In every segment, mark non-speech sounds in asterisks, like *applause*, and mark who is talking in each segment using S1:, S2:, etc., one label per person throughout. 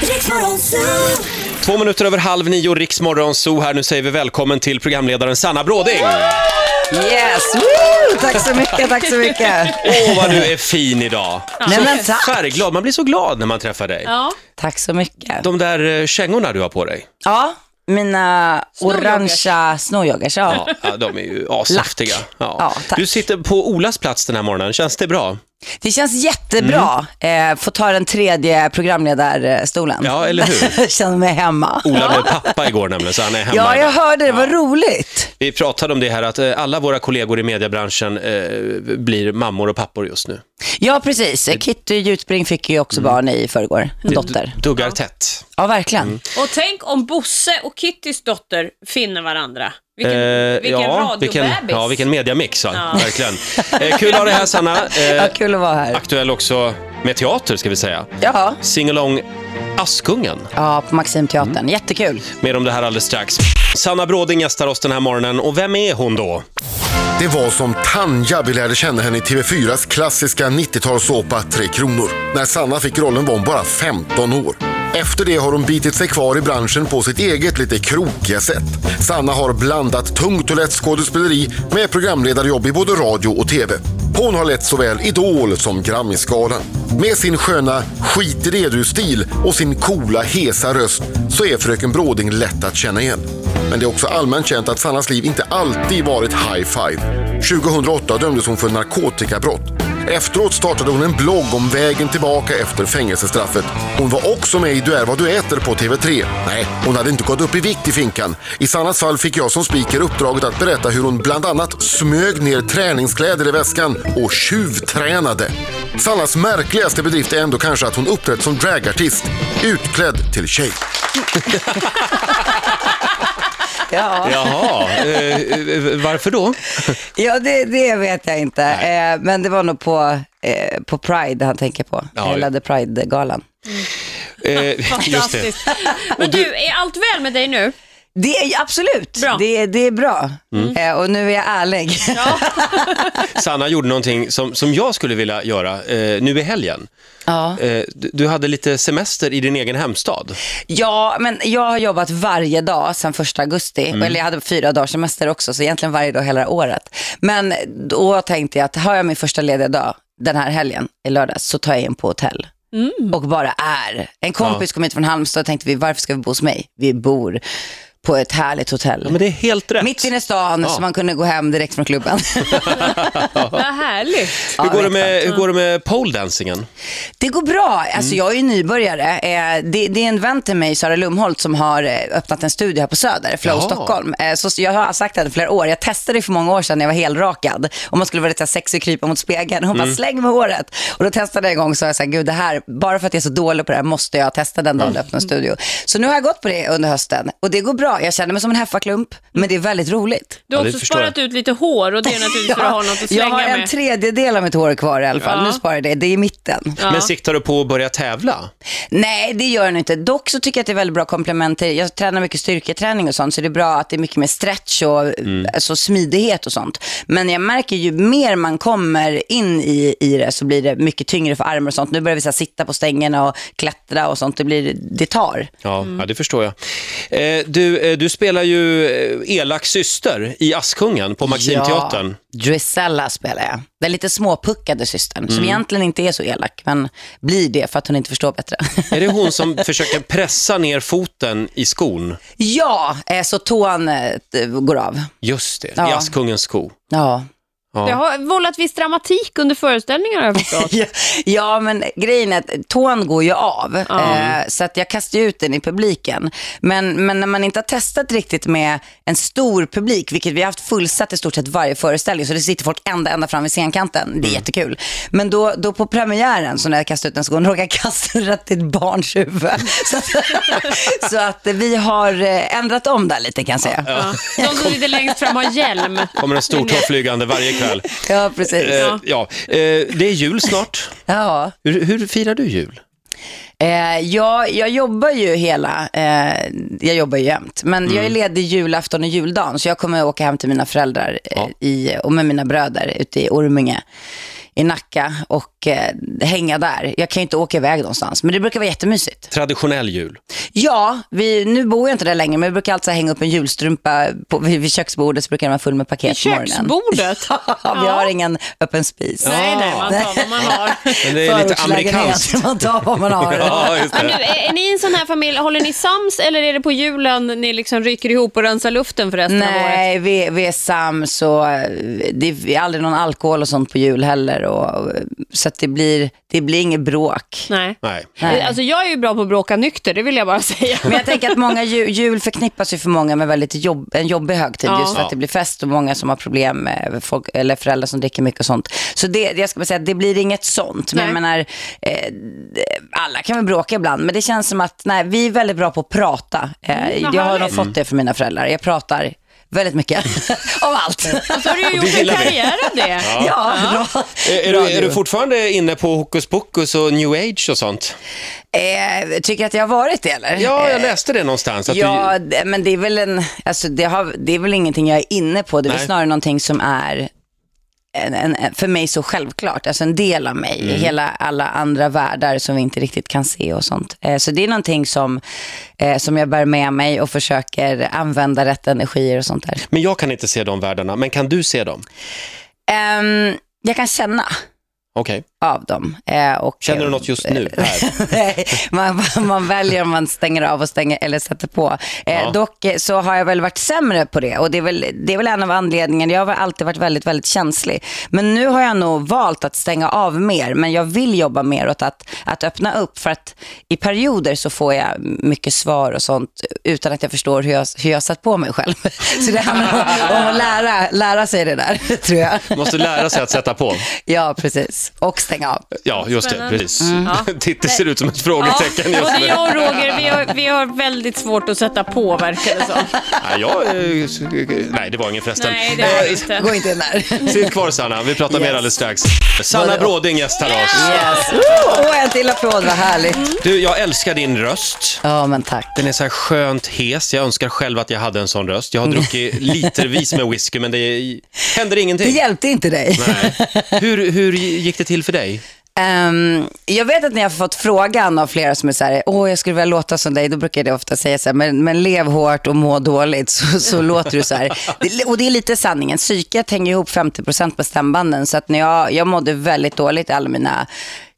S1: Riksmorgon Zoo!
S2: Två minuter över halv nio, Riksmorgon Zoo här. Nu säger vi välkommen till programledaren Sanna Bråding.
S3: Yes! Woo! Tack så mycket, tack så mycket. *laughs*
S2: Åh, vad du är fin idag.
S3: Nej, men tack.
S2: Färgglad, man blir så glad när man träffar dig.
S4: Ja,
S3: tack så mycket.
S2: De där eh, kängorna du har på dig,
S3: Ja, mina
S4: Snowjoggers.
S3: orangea snowjoggers. Ja. *laughs*
S2: ja, ja, de är ju ashäftiga.
S3: Ja, tack.
S2: du sitter på Olas plats den här morgonen, känns det bra?
S3: Det känns jättebra. Eh, få ta den tredje programledarstolen.
S2: Ja, eller hur?
S3: *laughs* Känner mig hemma.
S2: Ola blev pappa igår nämligen, så han är hemma
S3: Ja,
S2: idag.
S3: jag hörde det. Vad roligt.
S2: Vi pratade om det här att eh, alla våra kollegor i mediebranschen eh, blir mammor och pappor just nu.
S3: Ja, precis. Kitty Jutspring fick ju också barn i förrgår. En dotter.
S2: Du- Duggar tätt.
S3: Ja, verkligen.
S4: och tänk om Bosse och Kittys dotter finner varandra. Vilken,
S2: Eh, ja,
S4: vilken radiobebis.
S2: vilken, ja, vilken mediamix, va?
S4: Ja.
S2: verkligen. Eh, kul att ha dig här,
S3: *laughs*
S2: Sanna. Eh,
S3: Ja, kul att vara här.
S2: aktuell också med teater, ska vi säga.
S3: Ja,
S2: Singalong Askungen
S3: ja på Maximteatern. Jättekul.
S2: med om det här alldeles strax. Sanna Bråding gästar oss den här morgonen och vem är hon då?
S5: Det var som Tanja vi lärde känna henne i TV4s klassiska 90-talssåpa Tre Kronor. När Sanna fick rollen var hon bara 15 år. Efter det har hon bitit sig kvar i branschen på sitt eget lite krokiga sätt. Sanna har blandat tungt och lätt skådespeleri med programledarjobb i både radio och TV. Hon har lett såväl Idol som Grammisgalan. Med sin sköna skit i det stil och sin coola hesa röst så är fröken Bråding lätt att känna igen. Men det är också allmänt känt att Sannas liv inte alltid varit high five. 2008 dömdes hon för narkotikabrott. Efteråt startade hon en blogg om vägen tillbaka efter fängelsestraffet. Hon var också med i Du är vad du äter på TV3. Nej, hon hade inte gått upp i vikt i finkan. I Sannas fall fick jag som speaker uppdraget att berätta hur hon bland annat smög ner träningskläder i väskan och tjuvtränade. Sannas märkligaste bedrift är ändå kanske att hon uppträtt som dragartist, utklädd till tjej.
S3: Ja.
S2: Jaha, eh, eh, varför då?
S3: Ja, det, det vet jag inte. Eh, men det var nog på, eh, på Pride han tänker på.
S2: Ja,
S3: Eller hade Pride-galan.
S2: Eh, just det.
S4: Fantastiskt. Men du, är allt väl med dig nu?
S3: Det är absolut,
S4: Bra.
S3: Det, är- det är bra.
S2: Mm.
S3: Eh, och nu är jag ärlig.
S2: Sanna gjorde någonting som, som jag skulle vilja göra eh, nu i helgen.
S3: Ja.
S2: Eh, du, du hade lite semester i din egen hemstad.
S3: ja, men jag har jobbat varje dag sedan första augusti.
S2: Mm.
S3: Eller jag hade fyra dagars semester också, så egentligen varje dag hela året. Men då tänkte jag att har jag min första lediga dag den här helgen, i lördags, så tar jag in på hotell. Och bara är. En kompis kom hit från Halmstad och tänkte vi, varför ska vi bo hos mig? Vi bor på ett härligt hotell.
S2: Ja, men det är helt rätt.
S3: Mitt inne i stan så man kunde gå hem direkt från *laughs* klubben.
S4: Vad härligt.
S2: hur, går det
S3: vet
S2: med, hur går det med poledancingen?
S3: Det går bra. Alltså, Jag är ju nybörjare. Eh, det, det är en vän till mig, Sara Lumholt, som har eh, öppnat en studio här på Söder, Flow
S2: Jaha.
S3: Stockholm. Eh, så jag har sagt det här i flera år. Jag testade det för många år sedan när jag var helrakad. Om man skulle vara lite så här sexig och krypa mot spegeln. Hon bara, släng med håret. Och då testade jag en gång och sa jag så här, gud det här, bara för att jag är så dålig på det här måste jag testa den dagen jag öppnar en studio. Så nu har jag gått på det under hösten och det går bra. Jag känner mig som en heffaklump, men det är väldigt roligt.
S4: Du
S2: Ja,
S4: har
S2: det
S4: också
S2: förstår
S4: sparat ut lite hår och det är naturligtvis för att ha något att
S3: jag
S4: slänga
S3: har en
S4: med.
S3: tredjedel av mitt hår kvar i alla fall.
S4: Ja.
S3: Nu sparar jag det, det är i mitten.
S2: Men siktar du på att börja tävla?
S3: Nej, det gör den inte. Dock så tycker jag att det är väldigt bra komplement till, jag tränar mycket styrketräning och sånt, så det är bra att det är mycket mer stretch och
S4: Mm.
S3: alltså, smidighet och sånt. Men jag märker ju mer man kommer in i, i det så blir det mycket tyngre för armar och sånt. Nu börjar vi så här, sitta på stängerna och klättra och sånt, det, blir, det tar.
S2: Ja, ja det förstår jag. Eh, du, eh, du spelar ju eh, elak syster i Askungen på Maximteatern.
S3: Ja, Drizella spelar jag. Den lite småpuckade systern, som
S4: Mm.
S3: egentligen inte är så elak, men blir det för att hon inte förstår bättre. *laughs*
S2: Är det hon som försöker pressa ner foten i skon?
S3: ja, eh, så tån eh, går av.
S2: Just det, i
S3: Ja.
S2: Askungens sko.
S3: Ja.
S4: Det har vållat viss dramatik under föreställningarna har jag förstått.
S3: Ja, *laughs* ja, men grejen är att tån går ju av. Eh, så att jag kastar ju ut den i publiken. Men, men när man inte har testat riktigt med en stor publik, vilket vi har haft fullsatt i stort sett varje föreställning, så det sitter folk ända, ända fram vid scenkanten. Det är jättekul. Men då, då på premiären, så när jag kastade ut den så går den råkar kasta den *laughs* rätt i ett barns huvud. *laughs* Så, att- så att vi har eh, ändrat om där lite kan jag säga. Ja,
S4: De som sitter längst fram har hjälm.
S2: Kommer en
S3: *laughs*
S2: stortå flygande varje kväll.
S3: precis.
S2: Eh, ja. eh, det är jul snart.
S3: Ja.
S2: Hur, hur firar du jul?
S3: Eh, jag, jag jobbar ju hela, eh, jag jobbar ju jämt, men jag är ledig julafton och juldagen så jag kommer åka hem till mina föräldrar eh, i, och med mina bröder ute i Orminge i Nacka och eh, hänga där. Jag kan ju inte åka iväg någonstans, men det brukar vara jättemysigt.
S2: Traditionell jul.
S3: Ja, vi, nu bor jag inte där längre, men vi brukar alltid så här hänga upp en julstrumpa på, vid, vid köksbordet så brukar den vara full med paket
S4: I
S3: på morgonen.
S4: köksbordet?
S3: Ja, *laughs* vi har ingen öppen spis.
S4: Nej, nej, man tar vad man har.
S2: Men det är lite
S3: Förortslägenhet, *laughs*
S2: amerikanskt.
S3: Man tar vad man har.
S2: *laughs* Ja, just
S4: Men nu,
S2: det.
S4: är, är ni en sån här familj, håller ni sams eller är det på julen ni liksom ryker ihop och rensar luften för resten av året?
S3: Nej, vi, vi är sams och eh, det är aldrig någon alkohol och sånt på jul heller. Och, och, så att det, blir, det blir inget bråk.
S4: Nej.
S2: Nej.
S3: Nej.
S4: Alltså jag är ju bra på att bråka nykter, det vill jag bara *laughs* säga.
S3: Men jag tänker att många jul, jul förknippas ju för många med väldigt jobb, en jobbig högtid
S4: Ja.
S3: just för att det blir fest och många som har problem med folk, eller föräldrar som dricker mycket och sånt. Så det, jag ska bara säga att det blir inget sånt. Men jag
S4: Nej.
S3: menar, eh, d- alla kan väl bråka ibland, men det känns som att nej, vi är väldigt bra på att prata. Eh,
S4: Mm, vad
S3: jag har nog
S4: härligt.
S3: fått det för mina föräldrar. Jag pratar väldigt mycket *laughs* om allt.
S4: Så har du ju
S2: Det
S4: gjort en
S2: gillar vi.
S4: karriär av det.
S3: Ja, bra.
S2: Är, är,
S3: bra
S2: du, är du fortfarande inne på hokus pokus och new age och sånt?
S3: eh, Tycker att jag har varit det eller?
S2: Ja, jag
S3: Eh,
S2: läste det någonstans. Att
S3: Ja, d- men det är väl en, alltså det, har, det är väl ingenting jag är inne på, det är väl
S2: Nej.
S3: snarare någonting som är en, en, en, för mig så självklart, alltså en del av mig,
S2: Mm.
S3: hela alla andra världar som vi inte riktigt kan se och sånt. Eh, så det är någonting som, eh, som jag bär med mig och försöker använda rätt energier och sånt där.
S2: du, men jag kan inte se de världarna, men kan du se dem?
S3: Ehm, jag kan känna
S2: Okej.
S3: av dem. eh, och,
S2: Känner du något just nu? Här?
S3: Nej, *laughs* man, man väljer om man stänger av och stänger, eller sätter på. Eh,
S2: Ja.
S3: Dock eh, så har jag väl varit sämre på det och det är väl, det är väl en av anledningarna. Jag har väl alltid varit väldigt, väldigt känslig. Men nu har jag nog valt att stänga av mer, men jag vill jobba mer åt att, att öppna upp för att i perioder så får jag mycket svar och sånt utan att jag förstår hur jag, hur jag satt på mig själv. *laughs* Så det handlar om, om att lära, lära sig det där, *laughs* tror jag.
S2: Måste lära sig att sätta på.
S3: Ja, precis. Och stänga av.
S2: Ja, just det.
S4: Spännande.
S2: Precis.
S3: Mm.
S4: Ja.
S2: Titti ser ut som ett frågetecken
S4: Ja,
S2: just
S4: både
S2: nu.
S4: jag och Roger, vi har, vi har väldigt svårt att sätta på verkar det som.
S2: Nej, jag, eh, nej, det var ingen förresten.
S4: Nej, det har vi
S2: Eh,
S4: inte.
S3: Gå inte in där.
S2: Sitt kvar Sanna, vi pratar mer
S3: Yes.
S2: alldeles strax. Sanna
S3: Både-
S2: Bråding gästar oss.
S3: Yes. Oh, en till applåd, vad härligt.
S2: Du, jag älskar din röst.
S3: Ja, men tack.
S2: Den är så här skönt hes. Jag önskar själv att jag hade en sån röst. Jag
S3: Mm.
S2: har druckit litervis med whisky, men det händer
S3: Det
S2: ingenting.
S3: hjälpte inte dig.
S2: Nej. Hur, hur gick det till för dig?
S3: Ehm, jag vet att ni har fått frågan av flera som är så här, åh jag skulle vilja låta som dig, då brukar jag det ofta säga så här, men, men lev hårt och må dåligt så, *laughs* så låter du så här. Det, och det är lite sanningen, psyket hänger ihop 50% med stämbanden så att när jag, jag mådde väldigt dåligt i alla mina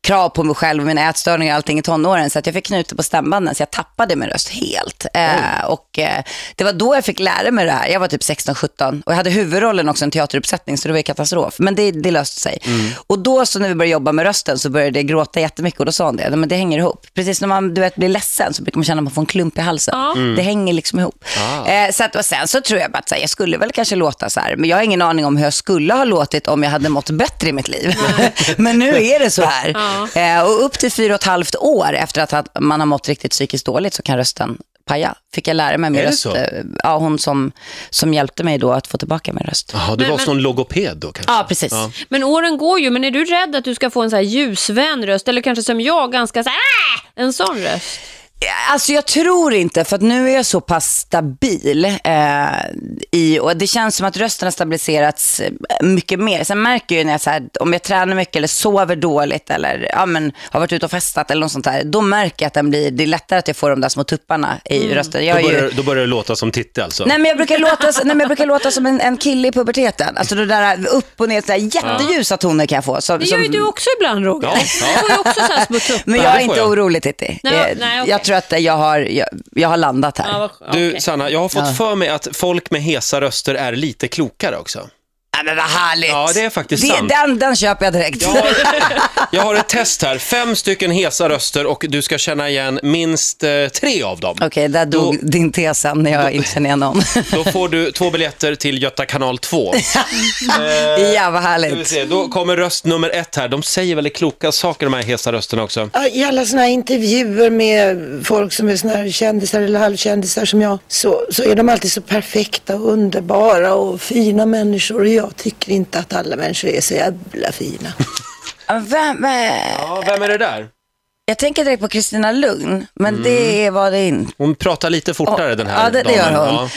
S3: krav på mig själv och mina ätstörningar och allting i tonåren så att jag fick knuta på stämbanden så jag tappade min röst helt. Eh, och eh, det var då jag fick lära mig det här. Jag var typ 16-17 och jag hade huvudrollen också i en teateruppsättning så det var ju katastrof. Men det, det löste sig. Och då så när vi började jobba med rösten så började jag gråta jättemycket och då sa hon det, "Nej, men det hänger ihop. Precis när man du vet, blir ledsen så brukar man känna att man får en klump i halsen. Det hänger liksom ihop.
S2: Ah.
S3: Eh, så att, och sen så tror jag bara att så här, jag skulle väl kanske låta så här, men jag har ingen aning om hur jag skulle ha låtit om jag hade mått bättre i mitt liv. *laughs* men nu är det så här. Eh, och upp till fyra och ett halvt år efter att ha- man har mått riktigt psykiskt dåligt så kan rösten paja. Fick jag lära mig min
S2: Är det
S3: röst.
S2: så?
S3: eh, Ja, hon som, som hjälpte mig då att få tillbaka min röst.
S2: Jaha, du var hos någon logoped då kanske?
S3: Ja, precis.
S4: Men åren går ju, men är du rädd att du ska få en så här ljusvän röst eller kanske som jag, ganska så här, "Ah!" en sån röst?
S3: Alltså jag tror inte, för att nu är jag så pass stabil. Eh, i, och det känns som att rösten har stabiliserats eh, mycket mer. Sen märker jag ju när jag, så här, om jag tränar mycket eller sover dåligt eller ja, men, har varit ute och festat eller något sånt där. Då märker jag att den blir, det är lättare att jag får de där små tupparna i rösten. Jag
S2: Mm. Då
S3: är ju-
S2: börjar, då börjar det låta som Titti alltså?
S3: Nej men jag brukar låta, så- nej, men jag brukar låta som en, en kille i puberteten. Alltså det där upp och ner, så där jätteljusa toner kan jag få. Som,
S4: Det gör ju
S3: som-
S4: du också ibland Roger.
S2: Ja, ja.
S4: Du får ju också så här små tuppar.
S3: Men
S2: Ja,
S3: jag är
S2: det får
S3: inte
S2: jag.
S3: orolig Titti.
S4: Nej,
S3: Eh,
S4: nej, okej.
S3: Jag tror att jag har, jag, jag har landat här.
S4: Ja, vad-
S2: Du,
S4: okej.
S2: Sanna, jag har fått för mig att folk med hesa röster är lite klokare också.
S3: Ja, men vad härligt.
S2: Ja, det är faktiskt sant.
S3: Den, den köper jag direkt.
S2: Jag har, jag har ett test här. Fem stycken hesa röster och du ska känna igen minst eh, tre av dem.
S3: *laughs* Okej, där dog din tes sen när jag inte känner igen någon.
S2: Då får du två biljetter till Göta kanal 2.
S3: *laughs* ja,
S2: Ska
S3: vad
S2: vi
S3: härligt.
S2: se, Då kommer röst nummer ett här. De säger väldigt kloka saker de här hesa rösterna också.
S1: Ja, I alla såna här intervjuer med folk som är såna här kändisar eller halvkändisar som jag så, så är de alltid så perfekta och underbara och fina människor och jag tycker inte att alla människor är så jävla fina.
S3: Ja, Vem, eh,
S2: Ja, vem är det där?
S3: jag tänker direkt på Kristina
S2: Mm.
S3: Lugn, men det var det inte.
S2: Hon pratar lite fortare
S3: Åh,
S2: den här
S3: ja, det- det
S2: damen.
S3: gör hon.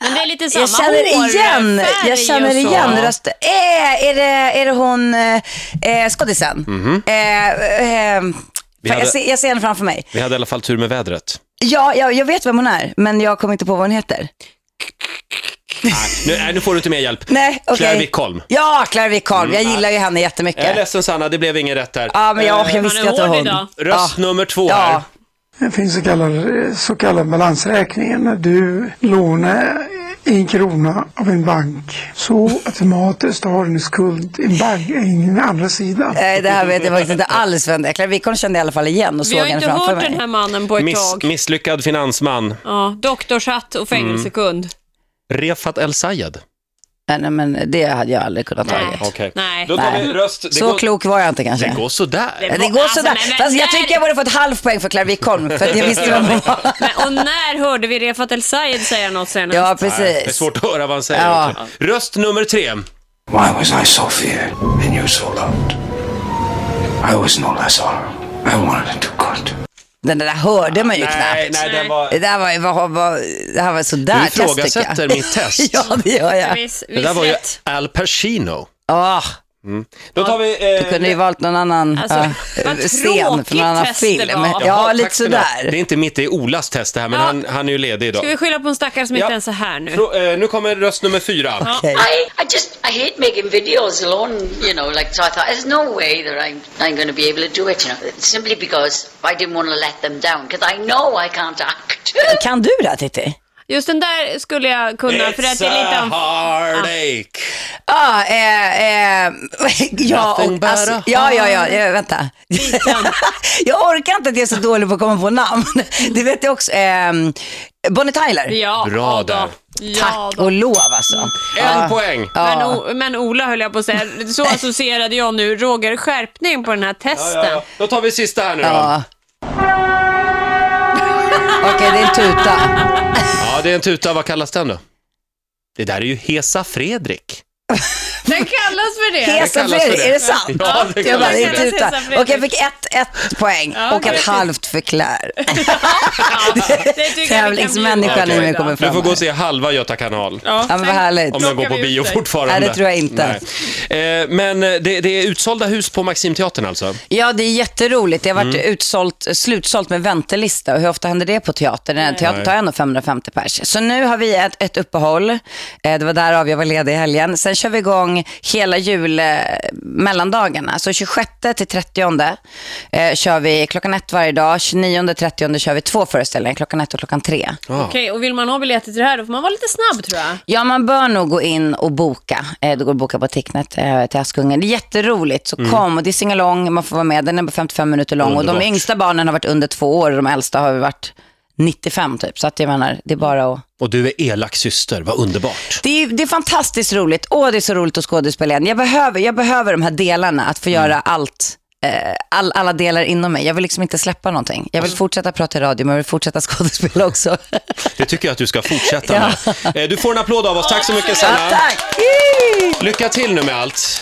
S4: Men det är lite samma
S3: Jag känner
S4: hår,
S3: igen,
S4: färg
S3: jag känner
S4: och så.
S3: igen rösten. Eh, är, det, är det hon, eh, skådisen? Eh, eh, fan,
S2: Mhm. Vi hade-
S3: jag, ser, jag ser henne framför mig.
S2: Vi hade i alla fall tur med vädret.
S3: Ja, jag, jag vet vem hon är, men jag kommer inte på vad hon heter.
S2: Nu, nej, nu får du inte mer hjälp.
S3: Nej, okej.
S2: Claire Wickholm. Mm.
S3: Ja, Claire Wickholm. jag gillar ju
S2: Jag
S3: henne
S2: är
S3: jättemycket.
S2: ledsen Sanna, det blev inget rätt här.
S3: Ja, men jag, jag visste
S4: han är
S3: att det var
S4: hård
S3: hon.
S4: idag.
S2: Röst nummer två här.
S3: Ah. Ja,
S6: Det finns så kallad, så kallad balansräkningen. När du lånar en krona av en bank så automatiskt har du en skuld i en bank, i en andra sida.
S3: Nej, eh, det här vet jag faktiskt inte alls vem det är. Claire Wickholm kände jag i alla fall igen och
S4: Vi
S3: såg
S4: har
S3: henne
S4: inte
S3: framför
S4: hört
S3: mig.
S4: den här mannen på ett
S2: Miss,
S4: tag.
S2: misslyckad finansman.
S4: Ja, doktorshatt och fängelsekund.
S3: Mm.
S2: Refat El Sayed.
S3: Nej, nej, men det hade jag aldrig kunnat ta.
S4: Nej.
S2: Okej.
S4: Nej.
S2: Då tar vi
S3: Nej.
S2: röst. Det
S3: Så
S2: går,
S3: klok var jag inte kanske.
S2: det går sådär.
S3: Ja, Det går
S4: Alltså,
S3: sådär.
S4: men- men
S3: Fast jag
S4: där-
S3: tycker jag borde få ett halvt poäng för Claire Wickholm, för att jag visste vem hon var.
S4: Men, och när hörde vi Refat El Sayed säga något senast?
S3: Ja,
S2: Det är
S3: precis.
S2: svårt att höra vad han säger.
S3: Ja.
S2: också. Röst nummer tre.
S7: Why was I so feared and you so loved? I was no less harmed. I wanted to do good.
S3: Den där hörde man ju
S2: Nej,
S3: knappt.
S2: nej, den var...
S3: Det där var, var, var, det här var sådär
S2: Du
S3: test, tycker jag.
S2: ifrågasätter
S3: *laughs*
S2: mitt test.
S3: ja, det gör jag.
S4: Viss,
S2: Det där var ju
S4: rätt.
S2: Al Pacino.
S3: Ah,
S2: Då tar vi... eh,
S3: du kunde ju valt någon annan
S4: Alltså,
S3: ja,
S4: vad
S3: scen
S4: tråkigt
S3: från någon annan
S4: test
S3: film.
S4: det var.
S3: Ja,
S2: Jaha,
S3: lite
S2: tack ska ni ha. Det är
S3: sådär.
S2: inte mitt, det är Olas test det här, men
S4: Ja.
S2: han, han är ju ledig idag.
S4: Ska vi skylla på en stackare som
S2: Ja.
S4: inte ens är här nu?
S2: Frå- eh, nu kommer röst nummer fyra.
S3: Okej.
S8: I, I just I hate making videos alone, you know. Like so, I thought there's no way that I'm I'm going to be able to do it, you know. Simply because I didn't want to let them down because I know I can't act. *laughs*
S3: Kan du det här, Titti?
S4: Just den där skulle jag kunna, för att
S2: It's
S4: det är lite
S2: a
S4: om...
S2: heartache.
S3: Ah, eh, eh, *laughs* ja,
S2: Nothing
S3: och,
S2: but
S3: alltså,
S2: a
S3: ja, ja, ja, ja, vänta. *laughs* jag orkar inte att jag är så dålig på att komma på namn. *laughs* Det vet jag också. Eh, Bonnie Tyler.
S4: Ja,
S2: Bra
S4: ja då.
S2: där.
S4: Ja,
S3: Tack
S4: då.
S3: och lov alltså.
S2: En poäng.
S4: Men, o, men Ola höll jag på att säga, så associerade jag nu Roger skärpning på den här testen.
S2: Då tar vi sista här nu då. Ja.
S3: Ja. *laughs* Okej, det är en tuta.
S2: det är en tuta. Vad kallas den då? Det där är ju Hesa Fredrik.
S4: Den kallas för det.
S2: Hes-
S3: Hesa
S2: kallas för
S3: Fredrik,
S2: det.
S3: är det sant?
S2: Ja, det
S3: jag bara,
S2: kallas
S3: det är
S2: för
S3: en
S4: det.
S3: tuta.
S4: Hesa Fredrik.
S3: Okej, jag fick ett, ett poäng
S4: Ja,
S3: och ett
S4: precis.
S3: halvt för Claire.
S4: Det tycker jag vi kan
S3: Tävlingsmänniskan
S4: bjuda
S3: i
S4: på
S3: mig
S4: idag.
S3: kommer
S2: Du
S3: fram.
S2: får gå och
S3: här.
S2: se halva Göta kanal.
S4: Ja,
S3: men vad
S4: tack.
S3: härligt.
S2: Om den går på
S4: Plockar vi
S2: bio
S4: ut dig.
S2: fortfarande.
S3: Nej, det tror jag inte.
S2: Nej. Eh, men eh, det, det är utsålda hus på Maximteatern alltså?
S3: Ja, det är jätteroligt. Det har varit utsålt, slutsålt med väntelista. Och hur ofta händer det på teater? Nej. Teater tar ändå 550 pers. Så nu har vi ett, ett uppehåll. Eh, Det var därav jag var ledig i helgen. Sen kör vi igång hela jul, eh, mellandagarna. Så 26 till 30 eh, kör vi klockan ett varje dag. 29 30 kör vi två föreställningar, klockan ett och klockan tre.
S4: Okej, och vill man ha biljetter till det här då får man vara lite snabb tror jag.
S3: Ja, man bör nog gå in och boka. Eh, det går att boka på Ticknet eh, till Askungen. Det är jätteroligt, så kom. Och det är singalong, man får vara med. Den är bara 55 minuter lång. Och
S2: Underbart.
S3: de yngsta barnen har varit under två år och de äldsta har varit 95 typ. Så att jag menar, det är bara att...
S2: Och du är elak syster, vad underbart.
S3: Det är, det är fantastiskt roligt. Åh, det är så roligt att skådespela igen. Jag behöver, jag behöver de här delarna, att få göra allt. eh, All, alla delar inom mig. Jag vill liksom inte släppa någonting. Jag vill fortsätta prata i radio, men jag vill fortsätta *laughs* skådespela också.
S2: Det tycker jag att du ska
S3: *laughs*
S2: fortsätta med. Eh, Du får en applåd av oss. Tack så mycket
S3: Ja,
S2: Sanna.
S3: tack! Yay!
S2: Lycka till nu med allt.